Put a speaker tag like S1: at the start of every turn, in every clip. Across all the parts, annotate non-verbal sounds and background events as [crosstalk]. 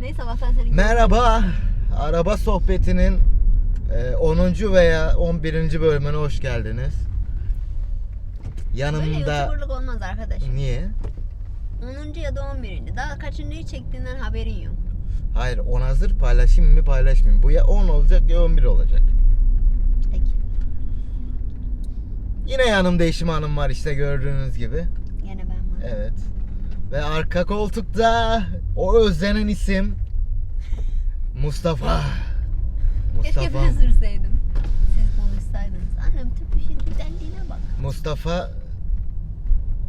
S1: Neyse Allah'tan senin
S2: Merhaba. Araba sohbetinin e, 10. veya 11. bölümüne hoş geldiniz.
S1: Böyle
S2: Yanımda
S1: youtuberlık olmaz arkadaş.
S2: niye?
S1: 10. ya da 11. Daha kaçıncıyı çektiğinden haberin yok.
S2: Hayır, 10 hazır paylaşayım mı paylaşmayayım. Bu ya 10 olacak ya 11 olacak.
S1: Peki.
S2: Yine yanımda eşim hanım var işte gördüğünüz gibi.
S1: Gene ben varım.
S2: Evet. Ve arka koltukta o özlenen isim Mustafa.
S1: Keşke
S2: Mustafa.
S1: ben sürseydim. Siz konuşsaydınız. Annem tüm işin güzelliğine bak.
S2: Mustafa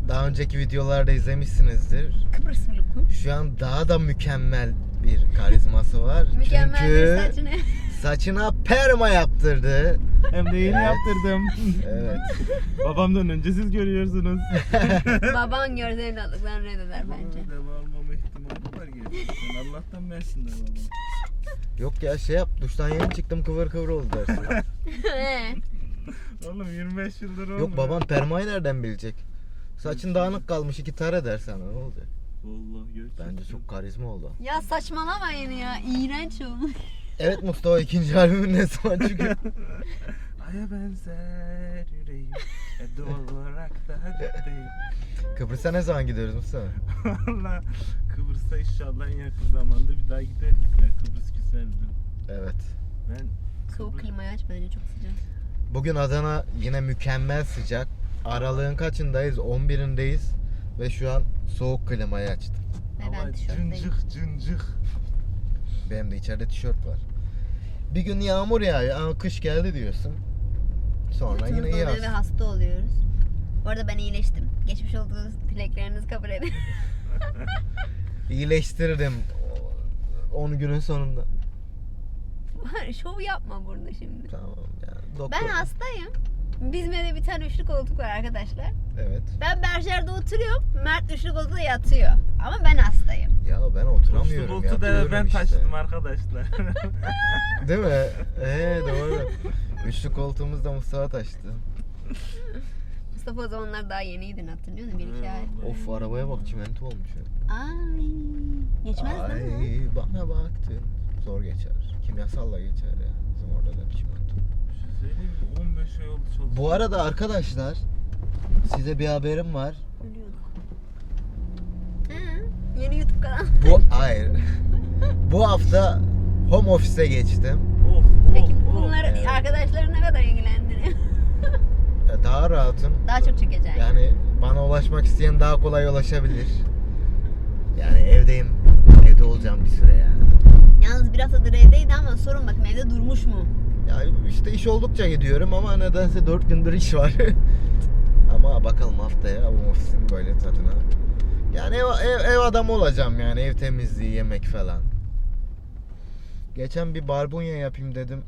S2: daha önceki videolarda izlemişsinizdir.
S1: Kıbrıslı kuş.
S2: Şu an daha da mükemmel bir karizması var.
S1: Mükemmel bir
S2: Çünkü [laughs]
S1: saçını.
S2: saçına perma yaptırdı.
S3: Hem de yeni
S2: Evet.
S4: [laughs]
S3: yaptırdım.
S2: Evet.
S3: Babamdan önce siz görüyorsunuz.
S1: Baban görse evlatlıklarını reddeder bence.
S4: Deva almama ihtimali var gibi. Sen Allah'tan versin deva bana.
S2: Yok ya şey yap duştan yeni çıktım kıvır kıvır oldu dersin.
S1: [laughs] He.
S3: Oğlum 25 yıldır olmuyor.
S2: Yok babam permayı nereden bilecek? Saçın dağınık kalmış iki tane dersen ne oldu?
S4: Vallahi gerçekten.
S2: Bence çok karizma oldu.
S1: ya saçmalamayın ya. İğrenç olmuş.
S2: Evet Mustafa ikinci albümün ne zaman
S1: [laughs]
S2: çıkıyor?
S4: [laughs] Aya benzer yüreğim. E doğal olarak da [laughs] hadipteyim.
S2: Kıbrıs'a ne zaman gidiyoruz Mustafa?
S4: Valla Kıbrıs'a inşallah en yakın zamanda bir daha gideriz ya. Kıbrıs güzeldi.
S2: Evet.
S4: Ben
S1: Soğuk klimayı aç bence çok sıcak.
S2: Bugün Adana yine mükemmel sıcak. Aralığın kaçındayız? 11'indeyiz. Ve şu an soğuk klimayı açtım.
S1: Ve ben
S4: hava
S1: tişörtteyim.
S4: cıncık cıncık.
S2: Benim de içeride tişört var. Bir gün yağmur yağıyor. Aa, kış geldi diyorsun. Sonra
S1: Fırtına
S2: yine
S1: oluyor
S2: yaz.
S1: ve hasta oluyoruz. Bu arada ben iyileştim. Geçmiş olduğunuz dileklerinizi kabul edin.
S2: İyileştirdim. 10 günün sonunda.
S1: [laughs] Var, Şov yapma burada şimdi.
S2: Tamam ya. Doktor.
S1: Ben hastayım. Bizim evde bir tane üçlü koltuk var arkadaşlar.
S2: Evet.
S1: Ben berjerde oturuyorum. Mert üçlü koltuğa yatıyor. Ama ben hastayım.
S2: Ya ben
S4: Uçlu
S2: oturamıyorum
S4: bultu da
S2: yatıyorum
S4: ben
S2: işte.
S4: taşıdım arkadaşlar. [laughs]
S2: Değil mi? Ee doğru. Üçlü koltuğumuz da Mustafa taştı.
S1: Mustafa o zamanlar daha yeniydin hatırlıyor musun? Bir iki ay.
S2: Of arabaya bak çimento olmuş. ya.
S1: Ay. Geçmez
S2: Hmm. Ay,
S1: değil mi?
S2: bana baktın. Zor geçer. Kimyasalla geçer ya. Bizim orada da bir çimento.
S4: Bir şey söyleyeyim mi? 15 ay oldu çalıştım.
S2: Bu arada arkadaşlar size bir haberim var.
S1: Ölüyorduk. Hı, Yeni YouTube kanalı.
S2: Bu hayır. Bu hafta home office'e geçtim.
S4: Of of
S1: Peki
S4: of.
S1: bunları
S2: evet.
S1: arkadaşları ne kadar ilgilendiriyor?
S2: E, Daha rahatım.
S1: [laughs] Daha çok çekeceğim.
S2: Yani bana ulaşmak isteyen daha kolay ulaşabilir. Yani evdeyim. Evde olacağım bir süre yani.
S1: Yalnız bir haftadır evdeydi ama sorun bakayım evde durmuş mu?
S2: Ya işte iş oldukça gidiyorum ama nedense 4 gündür iş var. [laughs] ama bakalım haftaya bu ofisin böyle tadına. Yani ev, ev, ev adamı olacağım yani ev temizliği, yemek falan. Geçen bir barbunya yapayım dedim.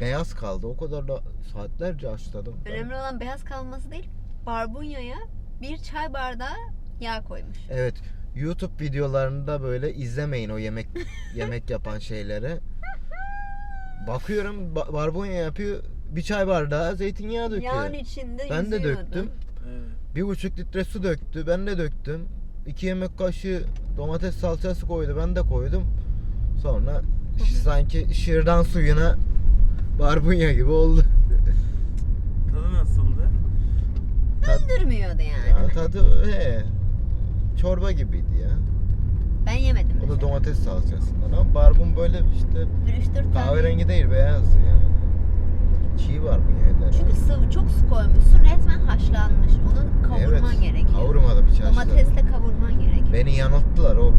S2: Beyaz kaldı. O kadar da saatlerce açladım.
S1: Önemli olan beyaz kalması değil, barbunyaya bir çay bardağı yağ koymuş.
S2: Evet. YouTube videolarında böyle izlemeyin o yemek yemek yapan şeyleri. Bakıyorum ba- barbunya yapıyor. Bir çay bardağı zeytinyağı döküyor.
S1: Yağın içinde
S2: Ben de
S1: yüzüyordu.
S2: döktüm.
S4: Evet.
S2: Bir buçuk litre su döktü. Ben de döktüm. İki yemek kaşığı domates salçası koydu. Ben de koydum. Sonra şi- sanki şırdan suyuna barbunya gibi oldu.
S4: Tadı nasıldı?
S1: Döndürmüyordu yani.
S2: Ya tadı he, çorba gibiydi ya.
S1: Ben yemedim.
S2: O da
S1: mesela.
S2: domates salçasından ama barbun böyle işte
S1: Bir üç dört tane.
S2: kahverengi değil beyaz yani. Çiğ barbunya eder.
S1: Çünkü sıvı çok su koymuşsun resmen haşlanmış. Onu kavurman gerekiyor.
S2: Kavurmadı bir çarşıda.
S1: Domatesle kavurman gerekiyor.
S2: Beni yanılttılar o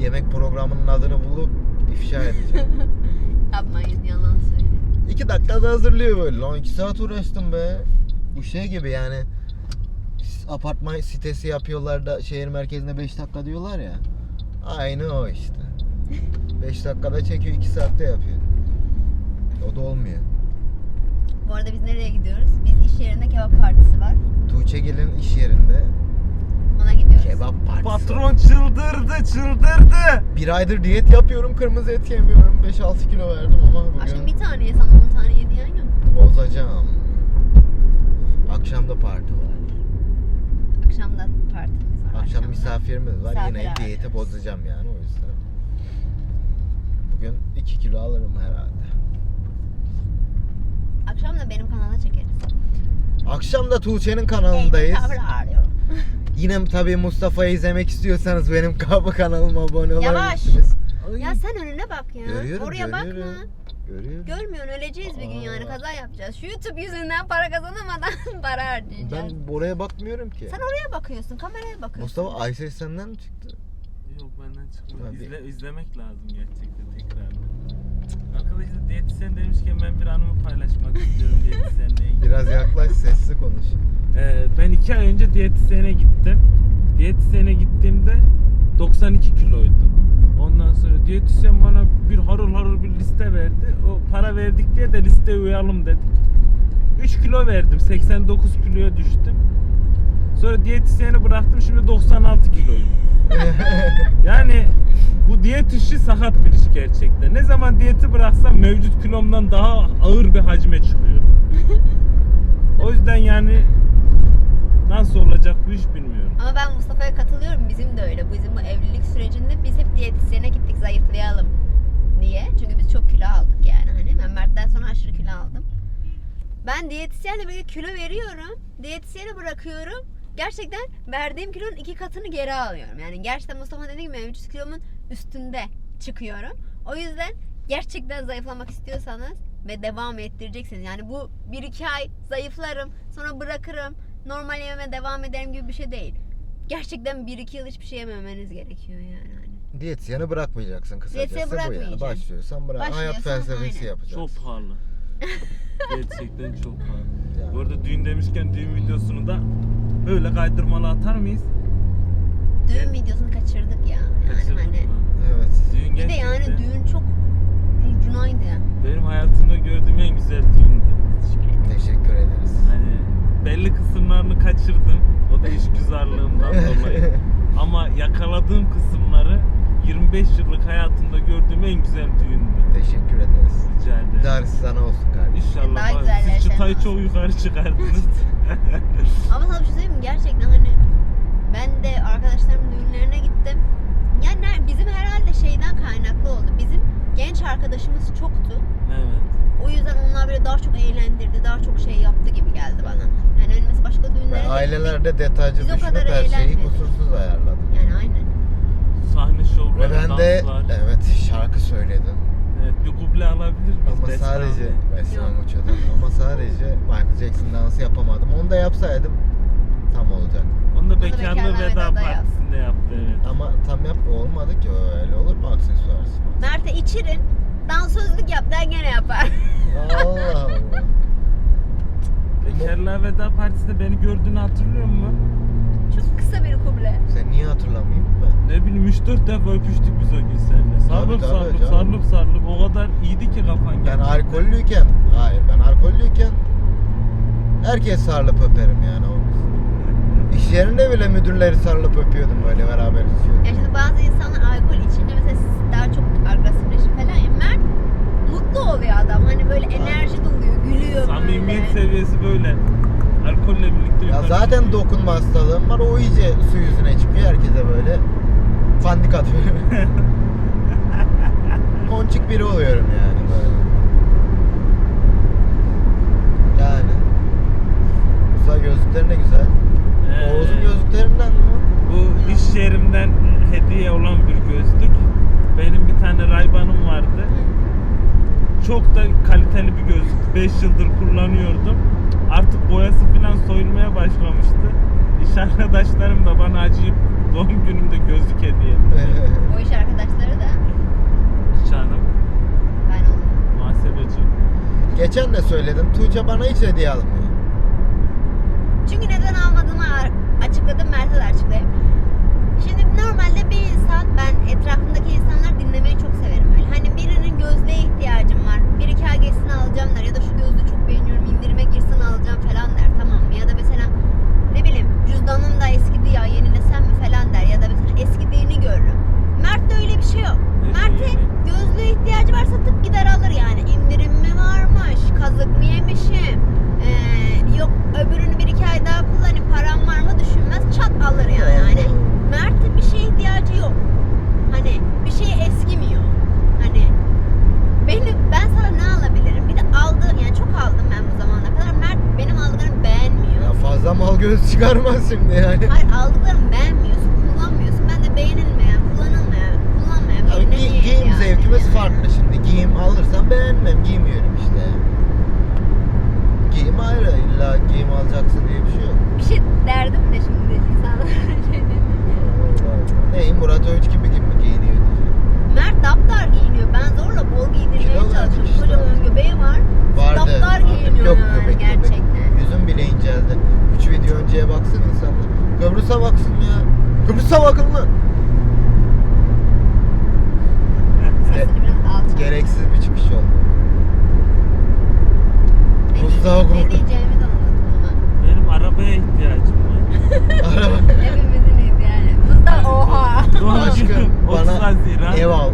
S2: yemek programının adını bulup ifşa edecek.
S1: [laughs] Yapmayın yalan söylüyorum.
S2: İki dakikada hazırlıyor böyle. Lan iki saat uğraştım be. Bu şey gibi yani s- apartman sitesi yapıyorlar da şehir merkezine 5 dakika diyorlar ya. Aynı o işte. 5 dakikada çekiyor 2 saatte yapıyor. O da olmuyor.
S1: Bu arada biz nereye gidiyoruz? Biz iş yerinde kebap partisi var.
S2: Tuğçe gelin iş yerinde
S1: Ona gidiyoruz.
S2: kebap partisi. var.
S3: Patron çıldırdı çıldırdı.
S2: Bir aydır diyet yapıyorum kırmızı et yemiyorum. 5-6 kilo verdim ama
S1: Akşam
S2: bugün
S1: bir taneye sana on tane yediyen yok.
S2: bozacağım. Akşam da parti var.
S1: Akşam da partimiz var.
S2: Akşam misafirimiz var.
S1: Misafir
S2: Yine diyeti
S1: ağırlıyoruz.
S2: bozacağım yani o yüzden. Bugün 2 kilo alırım herhalde.
S1: Akşam da benim kanala çekeriz.
S2: Akşam da Tuğçe'nin kanalındayız.
S1: Eğitim tavrı ağırlıyorum.
S2: Yine tabii Mustafa'yı izlemek istiyorsanız benim kahve kanalıma abone
S1: Yavaş.
S2: olabilirsiniz.
S1: Ya sen önüne bak ya.
S2: Görüyorum,
S1: Oraya
S2: görüyorum.
S1: bakma.
S2: Görüyorum.
S1: Görmüyorsun öleceğiz bir gün yani
S2: Aa.
S1: kaza yapacağız. Şu YouTube yüzünden para kazanamadan [laughs] para harcayacağız.
S2: Ben oraya bakmıyorum ki.
S1: Sen oraya bakıyorsun, kameraya bakıyorsun.
S2: Mustafa Ayses senden mi çıktı?
S4: Yok benden çıkmadı.
S2: Tabii.
S4: İzle, izlemek lazım gerçekten tekrar. Arkadaşlar diyetisyen demişken ben bir anımı paylaşmak istiyorum diyetisyenle ilgili.
S2: Biraz yaklaş sesli konuş.
S4: Ee, ben iki ay önce diyetisyene gittim. Diyetisyene gittiğimde 92 kiloydum. Ondan sonra diyetisyen bana bir harıl harıl bir liste verdi. O para verdik diye de listeye uyalım dedik. 3 kilo verdim. 89 kiloya düştüm. Sonra diyetisyeni bıraktım. Şimdi 96 kiloyum. yani bu diyet işi sakat bir iş gerçekten. Ne zaman diyeti bıraksam mevcut kilomdan daha ağır bir hacme çıkıyorum. O yüzden yani nasıl olacak bu iş bilmiyorum.
S1: Ama ben Mustafa'ya katılıyorum. Bizim de öyle. Bizim bu evlilik sürecinde biz hep diyetisyene gittik zayıflayalım diye. Çünkü biz çok kilo aldık yani hani. Ben Mert'ten sonra aşırı kilo aldım. Ben diyetisyenle böyle kilo veriyorum. Diyetisyeni bırakıyorum. Gerçekten verdiğim kilonun iki katını geri alıyorum. Yani gerçekten Mustafa dediği gibi mevcut kilomun üstünde çıkıyorum. O yüzden gerçekten zayıflamak istiyorsanız ve devam ettireceksiniz. Yani bu 1-2 ay zayıflarım sonra bırakırım normal yememe devam ederim gibi bir şey değil. Gerçekten 1-2 yıl hiçbir şey yememeniz gerekiyor yani. hani.
S2: Diyetisyeni bırakmayacaksın kısacası
S1: Diyetisyeni
S2: bu yani.
S1: bırakmayacağım.
S2: Başlıyorsan bırak. Hayat
S1: Başlıyorsan
S2: felsefesi
S1: aynen.
S2: yapacaksın.
S4: Çok pahalı. Gerçekten çok pahalı.
S2: Yani.
S4: Bu arada düğün demişken düğün videosunu da böyle kaydırmalı atar mıyız?
S1: Düğün videosunu kaçırdık ya. Yani
S4: Kaçırdık
S1: hani.
S4: mı?
S2: Evet.
S4: Düğün
S1: Bir de
S4: gerçekten
S1: yani düğün çok ucunaydı ya.
S4: benim hayatımda gördüğüm en güzel düğündü.
S1: Teşekkür ederim.
S2: Teşekkür ederiz.
S4: Hani belli kısımlarını kaçırdım. O
S1: [laughs]
S4: da işgüzarlığımdan dolayı. Ama yakaladığım kısımları 25 yıllık hayatımda gördüğüm en güzel düğündü.
S2: Teşekkür ederiz.
S4: Rica ederim.
S2: Ders sana olsun kardeşim.
S4: İnşallah.
S1: Daha
S4: bak,
S1: güzel
S4: Siz çıtayı
S1: yaşarsın.
S4: çok yukarı
S1: [laughs]
S4: çıkardınız.
S1: Ama sana bir şey söyleyeyim mi? Gerçekten hani ben de arkadaşlarımın düğünlerine gittim. Yani ner- bizim herhalde şeyden kaynaklı oldu. Bizim genç arkadaşımız çoktu.
S4: evet.
S1: O yüzden onlar böyle daha çok eğlendirdi, daha çok şey yaptı gibi geldi bana. Yani önümüz başka düğünlere de
S2: Ben
S1: gittik.
S2: ailelerde detaycı
S1: Biz o
S2: düşünüp
S1: kadar
S2: her şeyi
S1: eğlenmedik.
S2: kusursuz ayarladım.
S1: Yani aynen.
S4: Sahne
S2: Ve
S4: şovları,
S2: ben de
S4: danslar.
S2: evet şarkı söyledim.
S4: Evet, bir kuble alabilir miyiz?
S2: Ama
S4: Destan
S2: sadece
S4: Bey?
S2: Resmen uçuyordum. Ama sadece Michael Jackson dansı yapamadım. Onu da yapsaydım tam olacak.
S4: Onu da
S1: Bekarlar
S4: bekarlığı veda
S1: Veda'da yap.
S4: partisinde yaptı evet.
S2: Ama tam yap olmadı ki öyle olur mu aksesuarsız?
S1: [laughs] Mert'e içirin. Dansözlük yap der gene yapar. [laughs]
S2: Allah Allah.
S4: Bekarlığa veda partisinde beni gördüğünü hatırlıyor musun?
S1: Çok kısa bir kuble.
S2: Sen niye hatırlamayayım ki ben?
S4: Ne bileyim 3-4 defa öpüştük biz o gün seninle. Sarılıp
S2: tabii
S4: sarılıp
S2: canım.
S4: sarılıp sarılıp o kadar iyiydi ki kafan
S2: Ben
S4: gerçekten.
S2: alkollüyken, hayır ben alkollüyken herkes sarılıp öperim yani o. İş yerinde bile müdürleri sarılıp öpüyordum böyle beraber içiyorduk.
S1: Ya şimdi bazı insanlar alkol içince mesela siz daha çok agresifleşir falan. ya. Mert mutlu oluyor adam. Hani böyle enerji doluyor, gülüyor
S4: Samimiyet
S1: böyle.
S4: seviyesi böyle. Alkolle
S2: Ya
S4: birlikte yukarı
S2: zaten
S4: çıkıyor.
S2: dokunma hastalığım var o iyice su yüzüne çıkıyor herkese böyle pandik atıyor. [laughs] Konçik biri oluyorum yani böyle. Yani. Musa gözlüklerin ne güzel.
S4: Ee,
S2: Oğuz'un gözlüklerinden mi?
S4: Bu iş yerimden hediye olan bir gözlük. Benim bir tane Ray-Ban'ım vardı. Çok da kaliteli bir gözlük. 5 yıldır kullanıyordum. Artık boyası falan soyulmaya başlamıştı. İş arkadaşlarım da bana acıyıp doğum günümde gözlük hediye etti.
S2: [laughs]
S1: O iş arkadaşları da
S4: Canım,
S1: ben oluyorum.
S4: muhasebeci.
S2: Geçen de söyledim Tuğçe bana hiç hediye almıyor.
S1: Çünkü neden almadığını ar- açıkladım. Mert'e de açıklayayım. Şimdi normalde bir insan, ben etrafımdaki insanlar dinlemeyi çok severim. Öyle. Hani birinin gözlüğe ihtiyacım var. Bir iki ay geçsin alacağım der. Ya da şu gözlüğü çok beğeniyorum indirime girsin alacağım falan der. Tamam mı? Ya da mesela ne bileyim cüzdanım da eskidi ya yenilesem mi falan der. Ya da mesela eskidiğini görürüm. Mert'te öyle bir şey yok. Mert'e gözlüğe ihtiyacı varsa tık gider alır yani. İndirim mi varmış? Kazık mı yemişim? Ee, yok öbürünü bir iki ay daha kullanayım param var mı düşünmez. Çat alır yani. yani. Mert'in bir şeye ihtiyacı yok. Hani bir şey eskimiyor. Hani benim ben sana ne alabilirim? Bir de aldığım yani çok aldım ben bu zamana kadar. Mert benim aldıklarımı beğenmiyor.
S2: Ya fazla mal göz [laughs] çıkarmaz şimdi yani.
S1: Hayır aldıklarımı beğenmiyorsun, kullanmıyorsun. Ben de beğenilmeyen, kullanılmayan, kullanmayan
S2: Abi
S1: birine
S2: gi-
S1: niye
S2: giyim
S1: ihtiyacım
S2: zevkimiz
S1: yani?
S2: farklı şimdi. Giyim alırsam beğenmem, giymiyorum işte. Giyim ayrı, illa giyim alacaksın diye bir şey yok.
S1: Bir şey derdim de şimdi insanlara [laughs] şey dedim.
S2: Ne Murat Öğüt gibi gibi mi giyiniyor?
S1: Mert daptar giyiniyor. Ben zorla bol giydirmeye
S2: Kilo
S1: çalışıyorum.
S2: vermiş işte.
S1: Kocaman göbeği var.
S2: Vardı.
S1: Daptar
S2: artık
S1: giyiniyor
S2: yok
S1: yani
S2: göbek, göbek.
S1: gerçekten.
S2: Yüzüm bile inceldi. 3 video önceye baksın insanlar. Kıbrıs'a baksın ya. Kıbrıs'a bakın lan. E,
S1: Sesini biraz alçalt.
S2: Gereksiz bir çıkış oldu.
S1: Ne diyeceğimi- Ne
S2: [laughs] Mustafa Korkut.
S1: diyeceğimi de unuttum
S4: Benim arabaya ihtiyacım var.
S2: Araba.
S1: ben. Hepimizin iyiydi yani. Mustafa oha.
S4: Doğum
S2: Aşkım,
S4: [laughs] günüm 30
S2: bana
S4: Haziran.
S2: Ev al.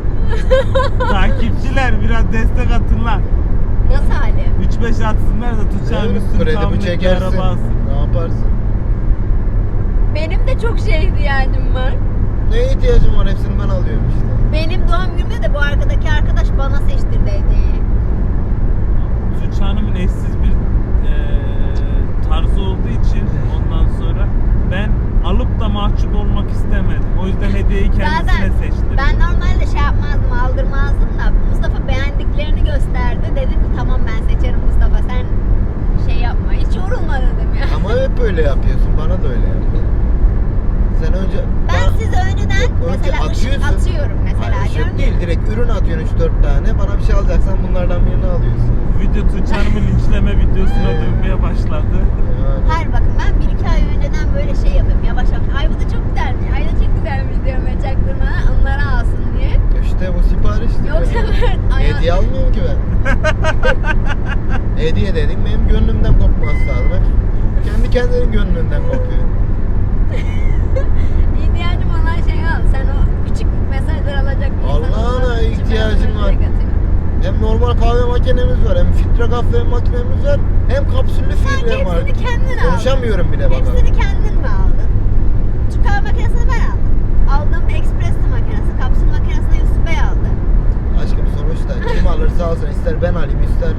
S4: Takipçiler biraz destek atın lan.
S1: Nasıl halim?
S4: 3-5 atsınlar da tutacağım üstünü
S2: Kredi
S4: tahmin
S2: mi
S4: et
S2: Ee, çekersin?
S4: araba alsın.
S2: Ne yaparsın?
S1: Benim de çok şeye ihtiyacım var.
S2: Neye ihtiyacım var hepsini ben alıyorum işte.
S1: Benim doğum günümde de bu arkadaki arkadaş bana seçtirdeydi.
S4: Tuğçe Hanım'ın eşsiz bir eee, tarzı olduğu için ondan sonra ben alıp da mahcup olmak istemedim. O yüzden hediyeyi kendisine
S1: Zaten
S4: seçtim.
S1: Ben normalde şey yapmazdım, aldırmazdım da Mustafa beğendiklerini gösterdi. Dedim ki tamam ben seçerim Mustafa sen şey yapma. Hiç yorulma dedim ya.
S2: Ama hep böyle yapıyorsun. Bana da öyle yaptın. Sen önce...
S1: Ben
S2: bana-
S1: size önceden
S2: Önce
S1: mesela ışık
S2: atıyorsun.
S1: atıyorum mesela.
S2: Hayır,
S1: görmüyor
S2: şey değil.
S1: musun?
S2: Direkt ürün atıyorsun 3-4 tane. Bana bir şey alacaksan bunlardan birini alıyorsun.
S4: Video Tuğçe Hanım'ın linçleme videosuna
S2: Ee.
S4: dönmeye başladı.
S2: Yani.
S1: Hayır bakın ben bir iki ay önceden böyle şey yapıyorum yavaş yavaş. Ay bu da çok güzelmiş, ay da çok güzelmiş diyorum böyle çaktırmadan onlara alsın diye.
S2: İşte bu sipariştir.
S1: Yoksa
S2: yani.
S1: ben ayağı...
S2: Hediye almıyorum ki
S1: [laughs]
S2: ben. Hediye dedim benim gönlümden kopması lazım. Hep kendi kendinin gönlünden kopuyor.
S1: İhtiyacım olan şey al. Sen o küçük mesajlar alacak bir insan
S2: Allah'ına
S1: olmadığın için ben
S2: ihtiyacım
S1: sana
S2: var.
S1: direkt atıyorum.
S2: Hem normal kahve makinemiz var, hem filtre kahve makinemiz var, hem kapsüllü
S1: Sanki
S2: filtre var.
S1: hepsini kendin aldın.
S2: Konuşamıyorum bile baba.
S1: Hepsini kendin mi aldın? Şu kahve makinesini ben aldım. Aldığım ekspresli makinesi, kapsül makinesini Yusuf Bey aldı.
S2: Aşkım sonuçta kim alırsa alsın ister ben alayım ister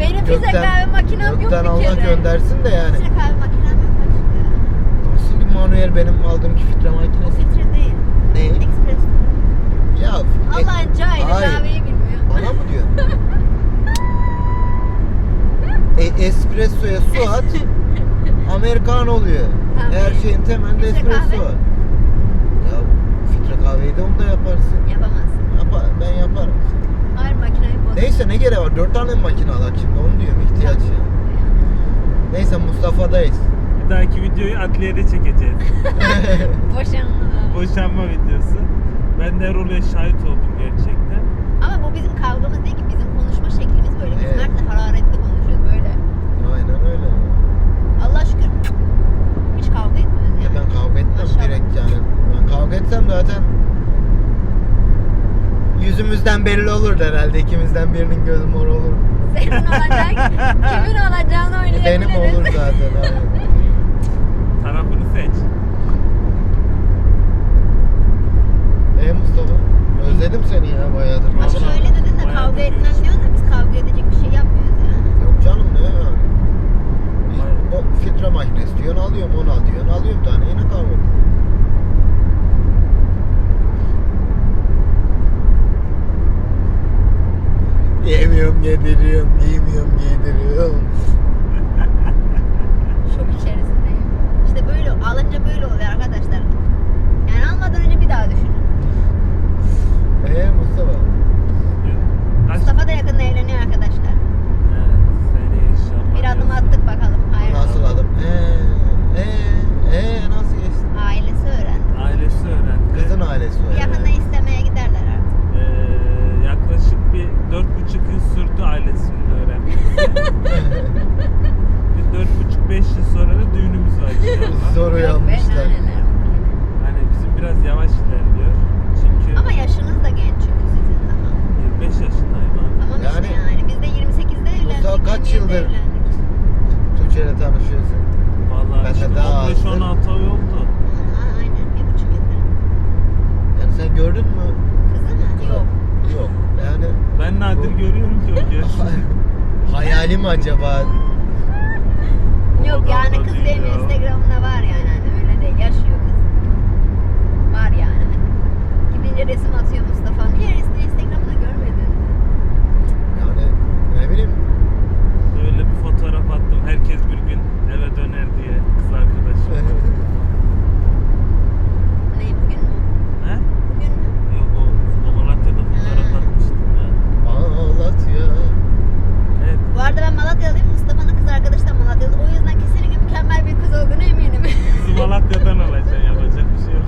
S1: Benim bize kahve makinem yok bir
S2: gökten
S1: kere.
S2: Allah göndersin de yani.
S1: Bize kahve makinem yok açıkçası.
S2: Nasıl bir manuel benim aldığım ki filtre
S1: O
S2: makinesi?
S1: filtre değil,
S2: Ne?
S1: ekspresli.
S2: Ya e,
S1: Allah'ın cahili
S2: hayır.
S1: kahveyi bilmiyor.
S2: Bana mı diyor?
S1: [laughs]
S2: e, espressoya su at. Amerikan oluyor.
S1: Tamam.
S2: Her şeyin temelinde
S1: Filtre
S2: espresso.
S1: kahve.
S2: Ya filtre kahveyi de onu da yaparsın.
S1: Yapamazsın.
S2: Yapar, ben yaparım.
S1: Hayır makineyi bozdu.
S2: Neyse ne gereği var? Dört tane mi makine alak şimdi? Onu diyorum ihtiyaç ya. Neyse Mustafa'dayız. [laughs]
S4: Bir dahaki videoyu adliyede çekeceğiz.
S1: Boşanma.
S4: Boşanma videosu. Ben de Erol'e şahit oldum gerçekten.
S1: Ama bu bizim kavgamız değil ki. Bizim konuşma şeklimiz böyle. Biz
S2: Evet.
S1: Mert'le hararetli konuşuyoruz böyle.
S2: Aynen öyle.
S1: Allah şükür hiç kavga etmiyoruz
S2: Ya
S1: yani.
S2: ben kavga etmem
S1: Aşağı-
S2: direkt yani. Ben kavga etsem zaten yüzümüzden belli olurdu herhalde. İkimizden birinin gözü mor olur. [laughs]
S1: Senin olacak, kimin olacağını oynayabiliriz.
S2: Benim olur zaten. aynen.
S4: Tarafını seç.
S2: E Mustafa? Özledim seni ya bayağıdır.
S1: Ama
S4: Vallahi
S1: şöyle dedin de
S4: bayağı
S1: kavga etmem
S4: kötüyüz.
S1: diyorsun da biz kavga edecek bir şey yapmıyoruz yani.
S2: Yok canım ne ya? O filtre makinesi diyorsun alıyorum onu al diyorsun alıyorum tane yine kavga ediyor. Yemiyorum yediriyorum, giymiyorum giydiriyorum.
S1: Şok içerisindeyim. İşte böyle alınca böyle oluyor arkadaşlar. Yani almadan önce bir daha düşünün.
S2: Eee Ee, Mustafa?
S4: Kaç-
S1: Mustafa da yakında evleniyor arkadaşlar.
S4: Evet, seni inşallah.
S1: Bir adım attık bakalım. Hayır.
S2: Nasıl adım? Eee, eee, eee Ee, nasıl geçti?
S1: Ailesi öğrendi.
S4: Ailesi öğrendi.
S2: Kızın ailesi var.
S1: Yakında
S2: [laughs]
S1: istemeye giderler artık.
S4: Ee, yaklaşık bir dört buçuk yıl sürdü ailesinin öğrenmesi. bir dört buçuk beş yıl sonra da düğünümüz var inşallah.
S1: Yok
S2: Zor
S1: be,
S2: uyanmışlar.
S1: naneler.
S4: Hani bizim biraz yavaş ilerliyor.
S2: [laughs] Hayalim acaba?
S1: Yok
S3: Oradan
S1: yani
S3: da
S1: kız
S3: değil
S1: benim
S3: ya.
S1: Instagram'da var yani hani öyle değil yaşıyor kız. Var yani hani. Gidince resim atıyor Mustafa. Niye resmini Instagram'da görmedin?
S2: Yani ne bileyim. [laughs]
S4: Böyle bir fotoğraf attım. Herkes bir gün eve döner diye kız arkadaşım.
S2: [laughs]
S1: Ne bugün mü?
S4: He?
S1: Bugün mü?
S4: Yok o, o Malatya'da fotoğraf
S1: Ha.
S4: atmıştım ya.
S2: Malatya.
S4: Evet.
S1: Bu arada ben Malatyalıyım. Mustafa'nın kız arkadaşı da Malatyalı. O yüzden kesinlikle mükemmel bir kız olduğunu eminim.
S4: Bizi Malatya'dan alacaksın yapacak bir şey yok.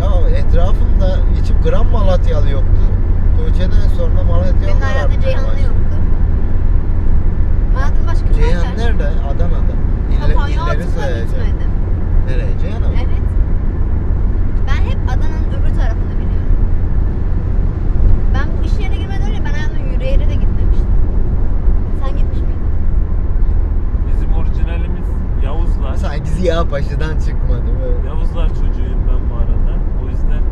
S2: Ya etrafımda içip gram Malatyalı yoktu. Tuğçe'den sonra
S1: Benim
S2: Malatyalılar
S1: herhalde
S2: artmaya
S1: Ceyhanlı
S2: başladı.
S1: yoktu. Malatya'nın başka bir
S2: Ceyhan nerede? Adana'da. İlle,
S1: Kampanya
S2: illeri
S1: altında
S2: sayacağım.
S1: gitmedim.
S2: Nereye? Ceyhan'a mı?
S1: Evet. Ben hep adanın öbür tarafını biliyorum. Ben bu iş yerine girmeden önce ben hayatımda yürüyerek de gitmemiştim. Sen gitmiş miydin?
S4: Bizim orijinalimiz Yavuzlar.
S2: Sanki Ziya Paşa'dan çıkmadı böyle.
S4: Yavuzlar çocuğuyum ben bu arada. O yüzden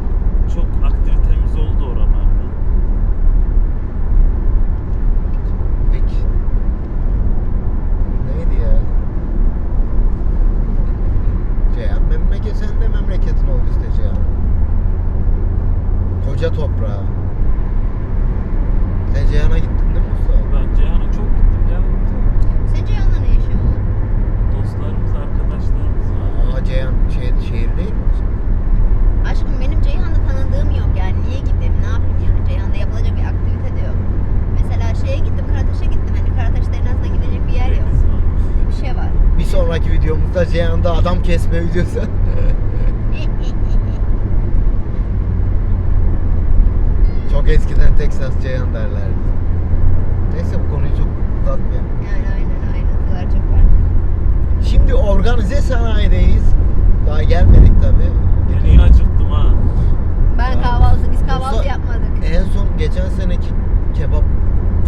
S4: çok aktivitemiz oldu oralarda.
S2: Peki. Neydi ya? Ceyhan memleket senin de memleketin oldu işte Ceyhan. Koca toprağı. Sen Ceyhan'a gittin değil mi Mustafa?
S4: Ben Ceyhan'a çok gittim ya.
S1: Sence yanında ne yaşıyor?
S4: Dostlarımız, arkadaşlarımız var.
S2: Aa Ceyhan şey, şehir değil mi?
S1: Aşkım benim Ceyhan'da tanıdığım yok yani. Niye gideyim? Ne yapayım yani? Ceyhan'da yapılacak bir aktivite de yok. Mesela şeye gittim, Karataş'a gittim. Hani Karataş'ta en azından gidecek bir yer yok.
S4: Deniz var.
S1: Bir şey var.
S2: Bir sonraki videomuzda Ceyhan'da adam kesme videosu. [laughs]
S1: E,
S2: Çok eskiden Texas Ceyhan derlerdi. Neyse bu konuyu çok uzatmayalım.
S1: yani aynen ayrıntılar çok var.
S2: Şimdi organize sanayideyiz. Daha gelmedik tabi.
S4: Beni iyi acıktım ha.
S1: Ben
S2: Ya.
S1: kahvaltı, biz kahvaltı
S2: Yoksa-
S1: yapmadık.
S4: E,
S2: En son geçen seneki kebap.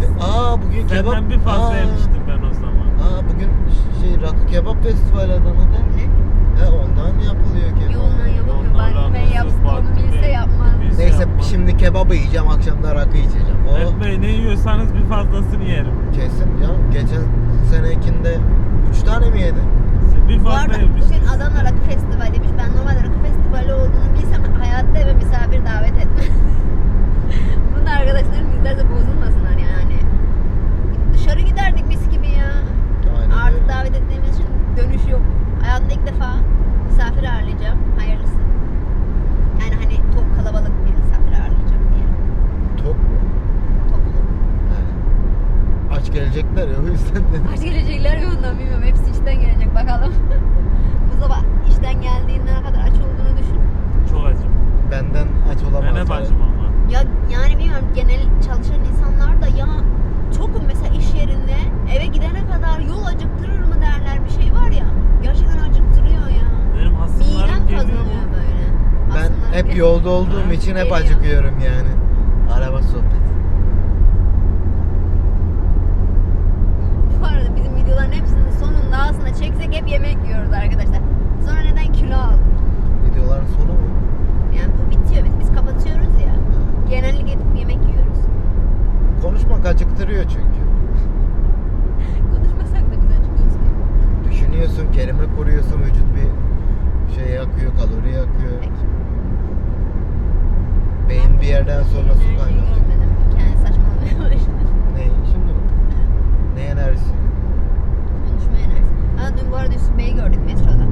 S2: fe- Aa bugün kebap.
S4: Senden bir fazla
S2: Aa,
S4: yemiştim ben o zaman.
S2: Aa bugün ş- şey rakı kebap festivali Adana'da.
S1: Ne?
S2: He ondan yapılıyor kebap.
S1: Yoluna yapamıyor.
S4: Ondan
S1: Ben
S4: alakası
S1: ben
S4: yok,
S1: yapsam
S4: baktı
S1: bilse
S4: değil.
S1: yapmaz.
S4: Bilse
S2: Neyse
S4: yapmaz.
S2: şimdi kebabı yiyeceğim akşam da rakı içeceğim. O
S4: Mert Bey ne yiyorsanız bir fazlasını yerim.
S2: kesin ya. Geçen senekinde 3 tane mi yedin?
S4: Siz Bir
S1: Bu
S4: fazla
S1: arada
S4: yemiştim.
S1: bugün Adana Rakı Festivali'ymiş. Ben normalde Rakı Festivali olduğunu bilsem hayatta eve misafir davet etmem. [laughs] Bunu da arkadaşlarım izlerse bozulmasınlar yani. Dışarı giderdik mis gibi ya.
S2: Aynen
S1: Artık
S2: öyle.
S1: davet ettiğimiz için dönüş yok. Hayatımda ilk defa misafir ağırlayacağım. Hayırlısı. Yani hani top kalabalık bir misafir ağırlayacağım diye.
S2: Tok mu?
S1: Toplu.
S2: He. Aç gelecekler ya o yüzden de.
S1: Kaç gelecekler mi ondan bilmiyorum. Hepsi işten gelecek bakalım. [laughs] Bu sabah işten geldiğinden kadar aç olduğunu düşün.
S4: Çok acım.
S2: [laughs] Benden aç
S4: Ben
S2: olamaz.
S4: hep acım ama.
S1: Ya yani bilmiyorum genel çalışan insanlar da ya çok mesela iş yerinde eve gidene kadar yol acıktırır mı derler bir şey var ya. Gerçekten acıktırıyor ya.
S4: Benim hasımlarım
S1: Midem
S4: geliyor mu?
S1: kazanıyor böyle.
S2: Ben
S1: Aslında
S2: hep
S1: ge-
S2: yolda olduğum
S4: Ha,
S2: için hep
S1: geliyor.
S2: acıkıyorum yani. Araba sohbeti.
S1: [laughs] Bu arada bizim videoların hepsinin sonunda aslında çeksek hep yemek yiyoruz arkadaşlar. Sonra neden kilo aldım?
S2: Videoların sonu mu?
S1: Yani bu bitiyor biz, biz kapatıyoruz ya. Genellikle hep yemek yiyoruz.
S2: Konuşmak acıktırıyor çünkü.
S1: Konuşmasak da biz acıkıyoruz.
S2: Düşünüyorsun, kelime kuruyorsun, vücut bir şey yakıyor, kalori yakıyor.
S1: Peki.
S2: Beyin bir yerden sonra su
S1: Enerjiyi
S2: kaynatıyor.
S1: görmedim. Yani saçmalamaya başladım.
S2: Ne? Şimdi mi? Ne enerjisi?
S1: Konuşma enerjisi. Ha dün bu arada Yusuf Bey'i gördük metroda.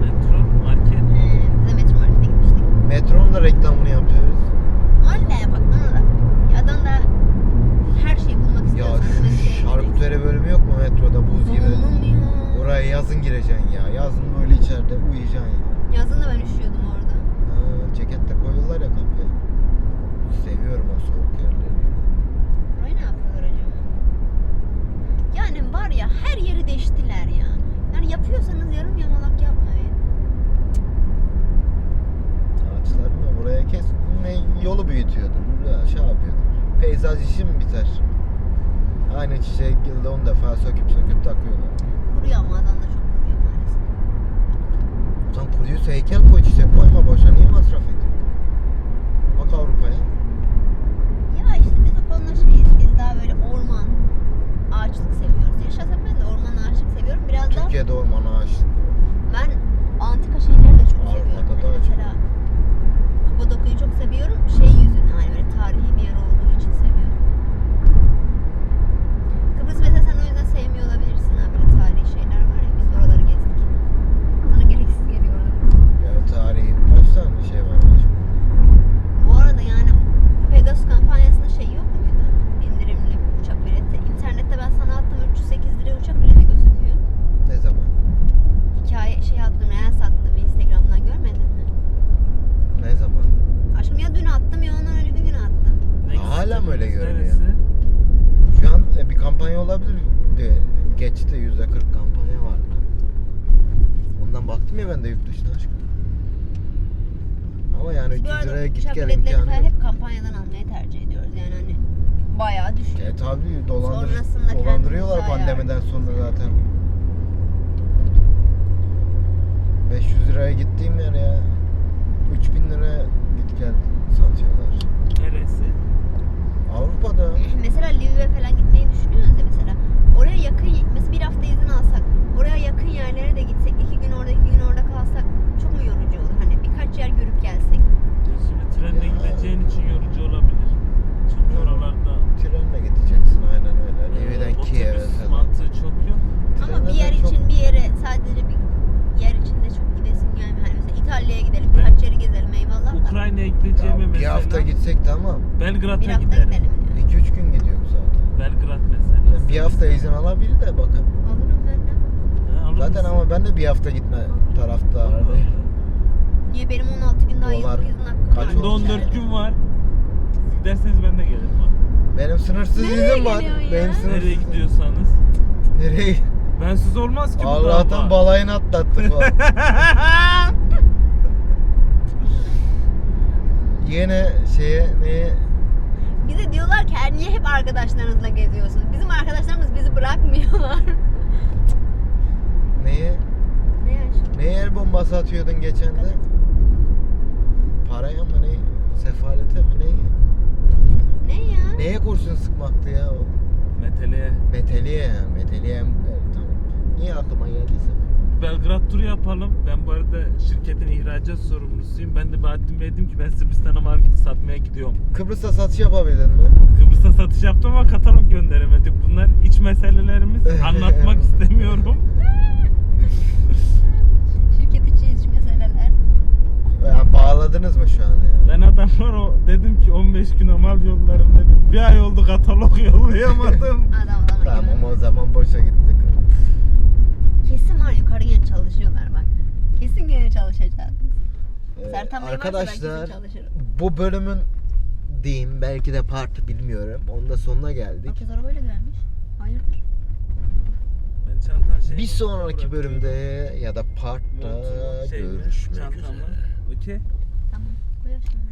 S4: Metro, market.
S1: Ee, biz de metro markete gitmiştik.
S2: Metronun da reklamını yapıyoruz.
S1: Anne bak bana da. Ya Adana'da her şeyi bulmak
S2: Ya
S1: istiyorsan şey
S2: şu şarküteri bölümü yok mu metroda buz gibi?
S1: gibi.
S2: Oraya yazın gireceksin ya. Yazın böyle içeride uyuyacaksın ya.
S1: Yazın da ben üşüyordum orada.
S2: Ha, ceket de koyuyorlar ya kapıya. Seviyorum o soğuk yerleri.
S1: Orayı ne yapıyorlar acaba? Yani var ya her yeri değiştiler ya. Yani yapıyorsanız yarım yamalak yapmayın.
S2: Ağaçlarını oraya kes ne- yolu büyütüyordur. Ya, şey yapıyordur. Peyzaj işi mi biter? Aynı çiçek yılda 10 defa söküp söküp takıyorlar.
S1: Kuruyor ama Adana'da çok kuruyor maalesef.
S2: Ulan kuruysa heykel koy çiçek koyma boşa niye masraf ediyorsun? Bak Avrupa'ya.
S1: Ya işte biz Hani Şey hani [laughs] şey şey
S2: şey öyle ya.
S4: neresi?
S2: Şu an e, bir kampanya olabilir de geçti yüzde 40 kampanya vardı. Ondan baktım ya ben de yurt dışına aşkım. Ama yani
S1: Biz
S2: 300
S1: bu arada
S2: liraya git
S1: uçak
S2: gel
S1: biletlerini
S2: imkanı
S1: falan
S2: yok.
S1: hep kampanyadan almayı tercih ediyoruz. Yani hani bayağı düşüyor.
S2: E tabi dolandır,
S1: Sonrasında kendimiz
S2: dolandırıyorlar
S1: ayarlıyoruz.
S2: pandemiden sonra zaten. 500 liraya gittiğim yer ya 3000 liraya git gel satıyorlar.
S4: Neresi?
S1: [laughs]
S2: Avrupa'da
S1: [clears throat] mesela Lviv'e falan gitmeyi düşünüyoruz ya mesela. Oraya yakın, mesela bir hafta izin alsak, oraya yakın yerlere de gitsek, iki gün orada, iki gün orada kalsak çok mu yorucu olur? Hani birkaç yer görüp gelsek.
S4: Ya Şimdi trenle
S2: Ya.
S4: gideceğin için yorucu olabilir. Çünkü oralarda
S2: trenle gideceksin aynen öyle.
S4: e,
S2: Evi'den Kiev'e
S4: otobüs
S2: falan.
S4: mantığı çok yok.
S1: Ama
S2: Trenle
S1: bir yer
S2: de çok-
S1: için bir yere sadece bir yer içinde çok gidesin yani. Hani mesela İtalya'ya gidelim,
S4: Ben-
S1: birkaç yeri gezelim eyvallah da.
S4: Ukrayna'ya
S2: Ya
S4: gideceğime
S2: bir
S4: mesela
S2: hafta gitsek tamam.
S1: Bir
S4: Belgrad'a
S1: hafta
S4: giderim.
S1: gidelim diyor.
S2: 2-3 gün gidiyorum zaten.
S4: Belgrad mesela.
S2: Yani bir hafta izin alabilir de bakın.
S1: Olurum ben de.
S4: Ha, alır
S2: Zaten
S4: mısın?
S2: ama ben de bir hafta gitme taraftarı.
S4: Vallahi.
S1: Niye benim 16 gün daha
S2: Dolar
S1: yıllık izin hakkım
S2: kaç
S1: var?
S4: Bende
S2: olmuş?
S4: 14 gün var. Derseniz ben de gelirim. ha.
S2: Benim sınırsız
S1: Nereye
S2: izin var.
S1: gidiyorsun ya?
S2: Benim sınırsız.
S4: Nereye gidiyorsanız.
S2: Nereye?
S4: Bensiz olmaz ki bu
S2: Allah'tan
S4: dava.
S2: balayını atlattık o. Yine şeye neye
S1: Bize diyorlar ki "Er, niye hep arkadaşlarınızla geziyorsunuz? Bizim arkadaşlarımız bizi bırakmıyorlar. [laughs]
S2: neye
S1: ne yani şimdi?
S2: neye el bombası atıyordun geçen de? Paraya mı neye? Sefalete mi neye?
S1: Ne ya?
S2: Neye kurşun sıkmaktı ya o?
S4: [laughs] Metele.
S2: Meteliye, meteliye. Evet, tamam. Niye aklıma geldiyse?
S4: Belgrad turu yapalım. Ben bu arada şirketin ihracat sorumlusuyum. Ben de Bahattin Bey dedim ki ben Sırbistan'a marketi satmaya gidiyorum.
S2: Kıbrıs'ta satış yapabildin mi?
S4: Kıbrıs'a satış yaptım ama katalog gönderemedik. Bunlar iç
S2: [laughs]
S4: meselelerimiz. Anlatmak istemiyorum.
S1: Şirket içi iç meseleler.
S2: Ya bağladınız mı şu an ya?
S4: Ben adamlar o dedim ki 15 gün mal yollarım dedim. Bir ay oldu katalog yollayamadım.
S1: Adam adama
S2: [laughs] Tamam
S1: güven.
S2: ama o zaman boşa gittik.
S1: Kesin var yukarı gene çalışıyorlar bak. Kesin gene çalışacağız. Sertan Bey varsa ben şey kesin
S2: Ee, arkadaşlar
S1: çalışırım.
S2: bu bölümün diyeyim belki de part bilmiyorum. Onun da sonuna geldik.
S1: Herkes arabayla gelmiş. Hayırdır?
S4: [laughs] Ben şey çantan şeyi
S2: Bir sonraki
S4: bırakıyorum.
S2: bölümde ya da partta
S4: Montumu, şeyimi,
S2: görüşmek
S4: şey, çantamı.
S2: üzere.
S4: Okey.
S1: Tamam. Bu yaşta.